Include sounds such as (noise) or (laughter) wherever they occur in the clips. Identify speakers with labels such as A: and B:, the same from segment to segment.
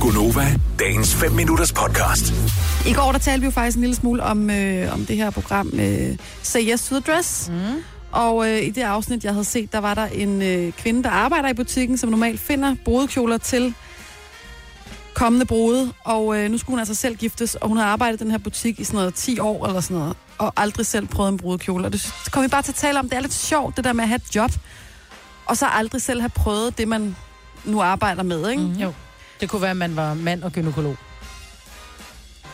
A: Gunova, dagens 5 minutters podcast.
B: I går der talte vi jo faktisk en lille smule om, øh, om det her program øh, Say Yes to the Dress. Mm. Og øh, i det afsnit, jeg havde set, der var der en øh, kvinde, der arbejder i butikken, som normalt finder brudekjoler til kommende brode. Og øh, nu skulle hun altså selv giftes, og hun har arbejdet i den her butik i sådan noget 10 år eller sådan noget, og aldrig selv prøvet en brudekjole. Og det sy- kom vi bare til at tale om. Det er lidt sjovt, det der med at have et job, og så aldrig selv have prøvet det, man nu arbejder med, ikke? Mm.
C: Jo. Det kunne være, at man var mand og gynekolog.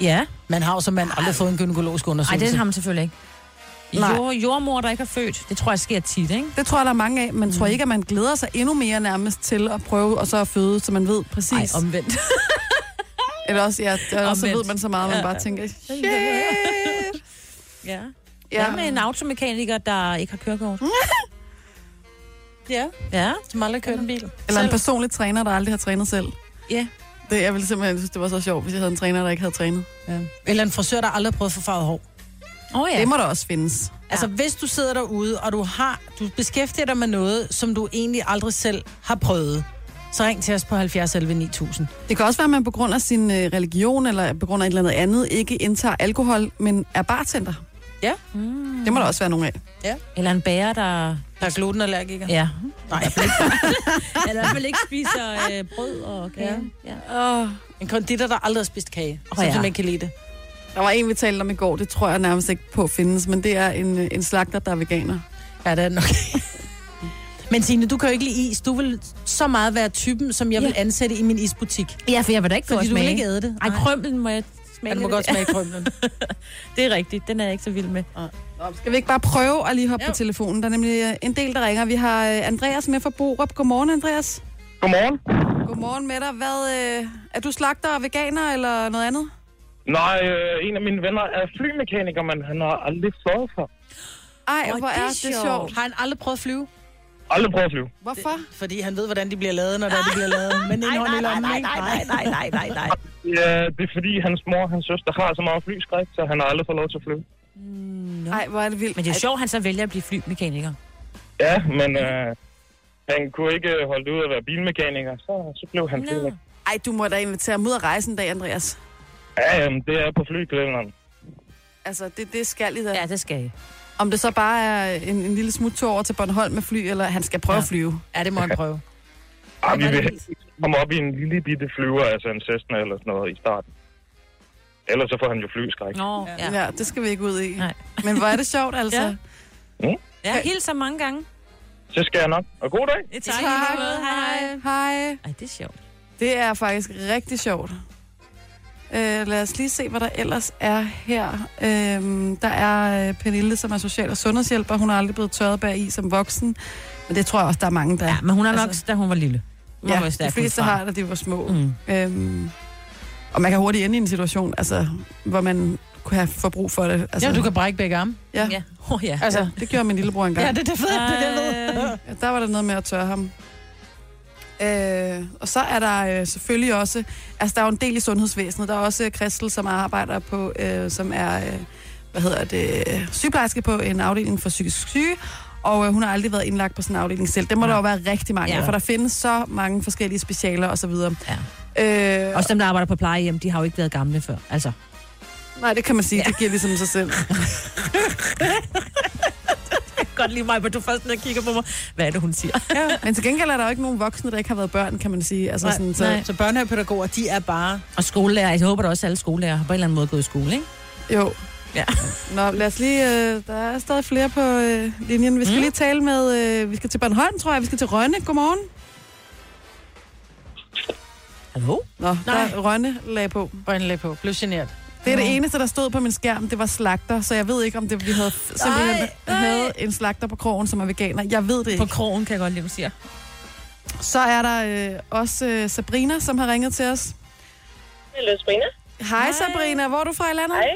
C: Ja. Man har jo som mand aldrig fået en gynækologisk
D: Nej,
C: undersøgelse.
D: det har man selvfølgelig ikke.
B: Nej.
D: Jord, jordmor, der ikke har født, det tror jeg sker tit, ikke?
B: Det tror jeg, der er mange af. Man mm. tror jeg ikke, at man glæder sig endnu mere nærmest til at prøve og så at føde, så man ved præcis.
D: Nej, omvendt.
B: Eller også, ja, eller også så
D: Omvendt.
B: ved man så meget, at man bare tænker, shit.
D: ja.
B: Ja,
D: ja. Mm. med en automekaniker, der ikke har kørekort.
C: ja.
D: Ja.
C: Som aldrig kørt en bil.
B: eller en
C: Selv.
B: personlig træner, der aldrig har trænet selv.
D: Ja.
B: Det, jeg ville simpelthen synes, det var så sjovt, hvis jeg havde en træner, der ikke havde trænet.
C: Ja. Eller en frisør, der aldrig har prøvet at få farvet hår.
D: Åh oh,
B: Ja.
D: ja.
B: Det må der også findes.
C: Altså, hvis du sidder derude, og du, har, du beskæftiger dig med noget, som du egentlig aldrig selv har prøvet, så ring til os på 70 11 9000.
B: Det kan også være, at man på grund af sin øh, religion eller på grund af et eller andet andet ikke indtager alkohol, men er bartender.
C: Ja.
B: Mm. Det må der også være nogen af.
D: Eller en bærer, der...
C: Der er glutenallergiker.
D: Ja.
C: Nej,
D: (laughs) Eller i hvert fald ikke spiser øh, brød og kage. Ja. ja.
B: Oh.
C: en konditor, der aldrig har spist kage, oh,
D: Åh,
C: som
D: ja.
C: ja. ikke kan lide det.
B: Der var en, vi talte om i går, det tror jeg nærmest ikke på findes, men det er en, øh, en slagter, der er veganer.
C: Ja, det er den nok.
D: (laughs)
C: Men Signe, du kan jo ikke lide is. Du vil så meget være typen, som jeg ja. vil ansætte i min isbutik.
D: ja, for jeg vil da ikke få
C: Fordi
D: at
C: du vil
D: smage.
C: ikke æde det.
D: Ej,
C: Nej.
D: krømmelen må jeg smage
C: Ja, du må
D: lidt
C: godt
D: af.
C: smage (laughs) krømlen.
D: (laughs) Det er rigtigt, den er jeg ikke så vild med.
B: Nå, Skal vi ikke bare prøve at lige hoppe jo. på telefonen? Der er nemlig øh, en del, der ringer. Vi har øh, Andreas med fra Borup. Godmorgen, Andreas.
E: Godmorgen.
B: Godmorgen med dig. Hvad, øh, er du slagter og veganer eller noget andet?
E: Nej, øh, en af mine venner er flymekaniker, men han har aldrig fløjet for.
B: Ej, oh, hvor
D: det
B: er
D: er
B: det sjovt.
D: sjovt.
B: sjovt.
C: Har han aldrig prøvet at flyve?
E: Aldrig prøvet at flyve.
B: Hvorfor?
C: Fordi han ved, hvordan de bliver lavet, når det er, de bliver lavet. (laughs) Men en hånd i lommen, ikke?
D: nej,
F: (laughs)
D: nej, nej, nej.
E: Ja, det er fordi, hans mor og hans søster har så meget flyskræk, så han har aldrig fået lov til at flyve.
B: Nej, hvor er det vildt.
D: Men det er sjovt, han så vælger at blive flymekaniker.
E: Ja, men øh, han kunne ikke øh, holde det ud at være bilmekaniker, så, så blev han flymekaniker.
B: Ej, du må da invitere ham ud at rejse en dag, Andreas.
E: Ja, jamen, det er på flyklæderen.
B: Altså, det, det skal I da.
D: Ja,
B: Ja.
D: det skal jeg.
B: Om det så bare er en, en lille smuttur over til Bornholm med fly, eller han skal prøve ja. at flyve.
C: Ja, det må han prøve.
E: Ja, Ah, vi vil helst ikke komme op i en lille bitte flyver, altså en Cessna eller sådan noget i starten. Ellers så får han jo
D: (laughs)
E: flyskræk.
D: Nå, ja.
B: Ja. ja, det skal vi ikke ud i.
D: Nej.
B: Men hvor er det
D: (laughs)
B: sjovt, altså. Ja.
D: Ja. Jeg har hilset mange gange.
E: Så skal jeg nok. Og god dag.
D: Tak. tak. Hej, hej.
B: Hej.
D: Ej, det er sjovt.
B: Det er faktisk rigtig sjovt. Øh, lad os lige se, hvad der ellers er her. Øh, der er øh, Pernille, som er social- og sundhedshjælper. Hun er aldrig blevet tørret bag i som voksen. Men det tror jeg også, der er mange, der
D: Ja, altså- men hun er nok, da hun var lille. Hun var
B: ja,
D: vist
B: de
D: stærk
B: fleste
D: udefra.
B: har det, da de var små. Mm.
D: Mm.
B: Øhm, og man kan hurtigt ende i en situation, altså, hvor man kunne have for brug for det. Altså,
C: Ja, du kan brække begge arme.
B: Ja.
D: Ja. Oh, ja.
C: Altså,
B: Det gjorde min lillebror engang.
C: ja, det, det er
D: Øh, (laughs)
C: fedt, det, er det jeg ved.
B: Ja, der var der noget med at tørre ham. Øh, og så er der øh, selvfølgelig også, altså der er jo en del i sundhedsvæsenet, der er også øh, Christel, som arbejder på, øh, som er, øh, hvad hedder det, øh, sygeplejerske på en afdeling for psykisk syge, og øh, hun har aldrig været indlagt på sådan en afdeling selv. Det må der jo være rigtig mange ja.
D: Ja.
B: for der findes så mange forskellige specialer osv.
D: Ja.
B: Øh,
D: Også dem, der arbejder på plejehjem, de har jo ikke været gamle før. Altså,
B: nej, det kan man sige, ja. det giver ligesom sig selv.
D: godt lige mig, men du først når kigger på mig. Hvad er det, hun siger?
B: (laughs) Ja. Men til gengæld er der jo ikke nogen voksne, der ikke har været børn, kan man sige. Altså, sådan, så,
C: Så børnehavepædagoger, de er bare...
D: Og skolelærer, jeg håber da også, at alle skolelærer har på en eller anden måde gået i skole, ikke?
B: Jo.
D: Ja.
B: Nå, lad os lige... Øh, der er stadig flere på øh, linjen. Vi skal mm. lige tale med... Øh, vi skal til Bornholm, tror jeg. Vi skal til Rønne. Godmorgen.
D: Hallo?
B: Nå, Nej.
C: Nej.
B: der er Rønne lag på.
C: Brøndlæg på. Blev generet.
B: Det er det eneste, der stod på min skærm. Det var slagter, så jeg ved ikke, om det vi havde f- simpelthen
C: Nej, nej.
B: havde en slagter på krogen, som er veganer. Jeg ved det
D: På
B: ikke.
D: krogen kan jeg godt lide, hun siger.
B: Så er der øh, også øh, Sabrina, som har ringet til os.
F: Hallo, Sabrina.
B: Hej, Hej. Sabrina. Hvor er du fra i landet?
F: Hej.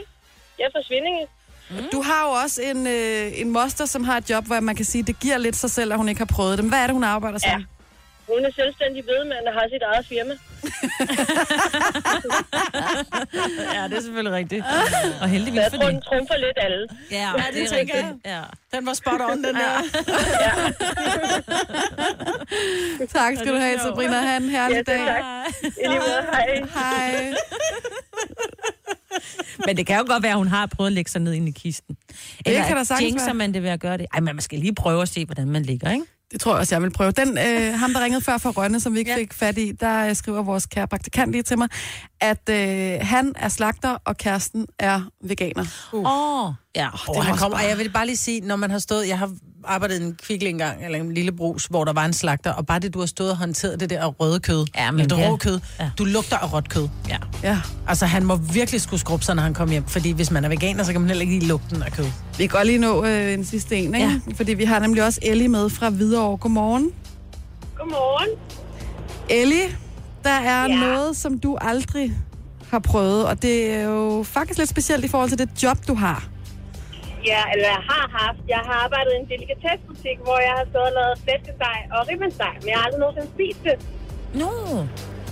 F: Jeg er fra Svindinge.
B: Du har jo også en, øh, en moster, som har et job, hvor man kan sige, det giver lidt sig selv, at hun ikke har prøvet det. Men hvad er det, hun arbejder som?
F: Ja. Hun er selvstændig bedemand og har sit eget firma.
C: Ja, det er selvfølgelig
D: (laughs)
C: rigtigt. Og heldigvis
F: Jeg
C: for
F: tror,
C: det.
F: den trumfer lidt
C: (laughs)
F: alle.
D: Ja,
C: Ja, det, det tænker jeg.
D: Ja.
C: Den var spot on, den (laughs) der.
B: Tak skal du have, Sabrina. Ha' en herlig
F: Ja, det er
B: dag.
F: tak. I lige måde, hej.
B: Hej.
D: Men det kan jo godt være, at hun har prøvet at lægge sig ned ind i kisten. Eller
B: kan
D: at
B: der sagtens
D: jinxer
B: være.
D: man det ved at gøre det. Ej, men man skal lige prøve at se, hvordan man ligger, ikke?
B: Det tror jeg også, jeg vil prøve. Den, øh, ham, der ringede før fra Rønne, som vi ikke ja. fik fat i, der øh, skriver vores kære praktikant lige til mig, at øh, han er slagter, og kæresten er veganer. Uh.
D: Åh, oh, ja.
C: Oh, han kommer, og jeg vil bare lige sige, når man har stået, jeg har arbejdet i en kvikle engang, eller en lille brus, hvor der var en slagter, og bare det, du har stået og håndteret det der røde kød,
D: Ja, men
C: eller det
D: ja.
C: rå kød,
D: Ja.
C: du lugter af råt kød.
D: Ja.
B: Ja.
C: Altså, han må virkelig skulle skrubbe sig, når han kom hjem, fordi hvis man er veganer, så kan man heller ikke lide lugten af kød.
B: Vi kan godt lige nå øh, en sidste en, ikke? Ja. Fordi vi har nemlig også Ellie med fra Hvidovre. Godmorgen.
F: Godmorgen.
B: Ellie, der er ja. noget, som du aldrig har prøvet, og det er jo faktisk lidt specielt i forhold til det job, du har.
F: Ja, eller jeg har haft. Jeg har arbejdet i en delikatessebutik, hvor jeg har stået og lavet flæskesteg og ribbensteg, men jeg har aldrig nogensinde spist det.
D: No.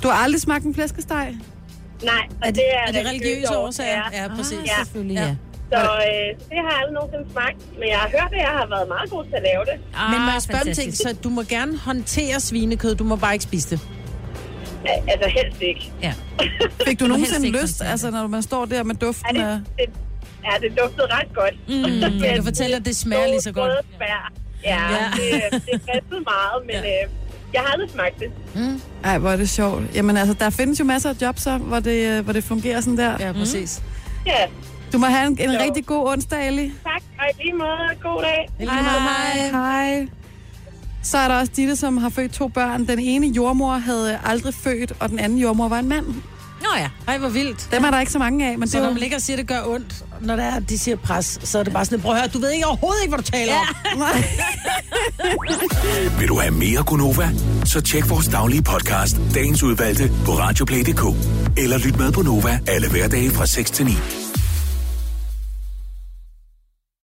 B: Du har aldrig smagt en flæskesteg?
F: Nej, og
C: Er det, er
F: der
C: det religiøse årsager?
F: Ja.
C: Ja, præcis.
F: Ja.
D: Selvfølgelig, Ah. ja.
F: Så øh, så det har jeg aldrig nogensinde smagt, men jeg har hørt, at jeg har været meget god til at lave det.
D: Ah,
C: Men må jeg spørge om ting,
D: fantastisk.
C: så du må gerne håndtere svinekød, du må bare ikke spise det.
F: Al- Altså helst ikke.
D: Ja.
B: Fik du
D: helst
B: nogensinde
D: ikke
B: lyst,
D: håndtere
B: altså når man står der med
F: Ja,
B: duften
F: det,
B: af...
F: det, ja, det duftede ret godt. (laughs) Mm,
C: Jeg kan fortælle, at det smager lige så godt.
F: Ja,
D: Ja.
F: ja. det, det fristede meget,
C: (laughs)
F: men ja. øh, jeg har aldrig smagt det.
B: Ej, hvor er det sjovt. Jamen altså, der findes jo masser af jobs, så, hvor, det, øh, hvor det fungerer sådan der.
C: Ja, præcis.
F: Ja,
B: Du må have en, en
F: Jo.
B: rigtig god onsdag, Ellie.
F: tak. Og i lige måde, god dag.
B: Hej. Hej. Så er der også Ditte, som har født to børn. Den ene jordmor havde aldrig født, og den anden jordmor var en mand.
D: Nå ja.
C: Ej, hvor vildt.
B: Dem er der ikke så mange af, men
C: Så
B: det er
C: når
B: jo...
C: man ligger og siger, at det gør ondt, når det er, at de siger pres, så er det bare sådan, prøv at høre, du ved ikke overhovedet ikke, hvad du taler om.
A: Vil du have mere Gunova? Så tjek vores daglige podcast, dagens udvalgte, på radioplay.dk. Eller lyt med på Nova alle hverdage fra 6 til 9.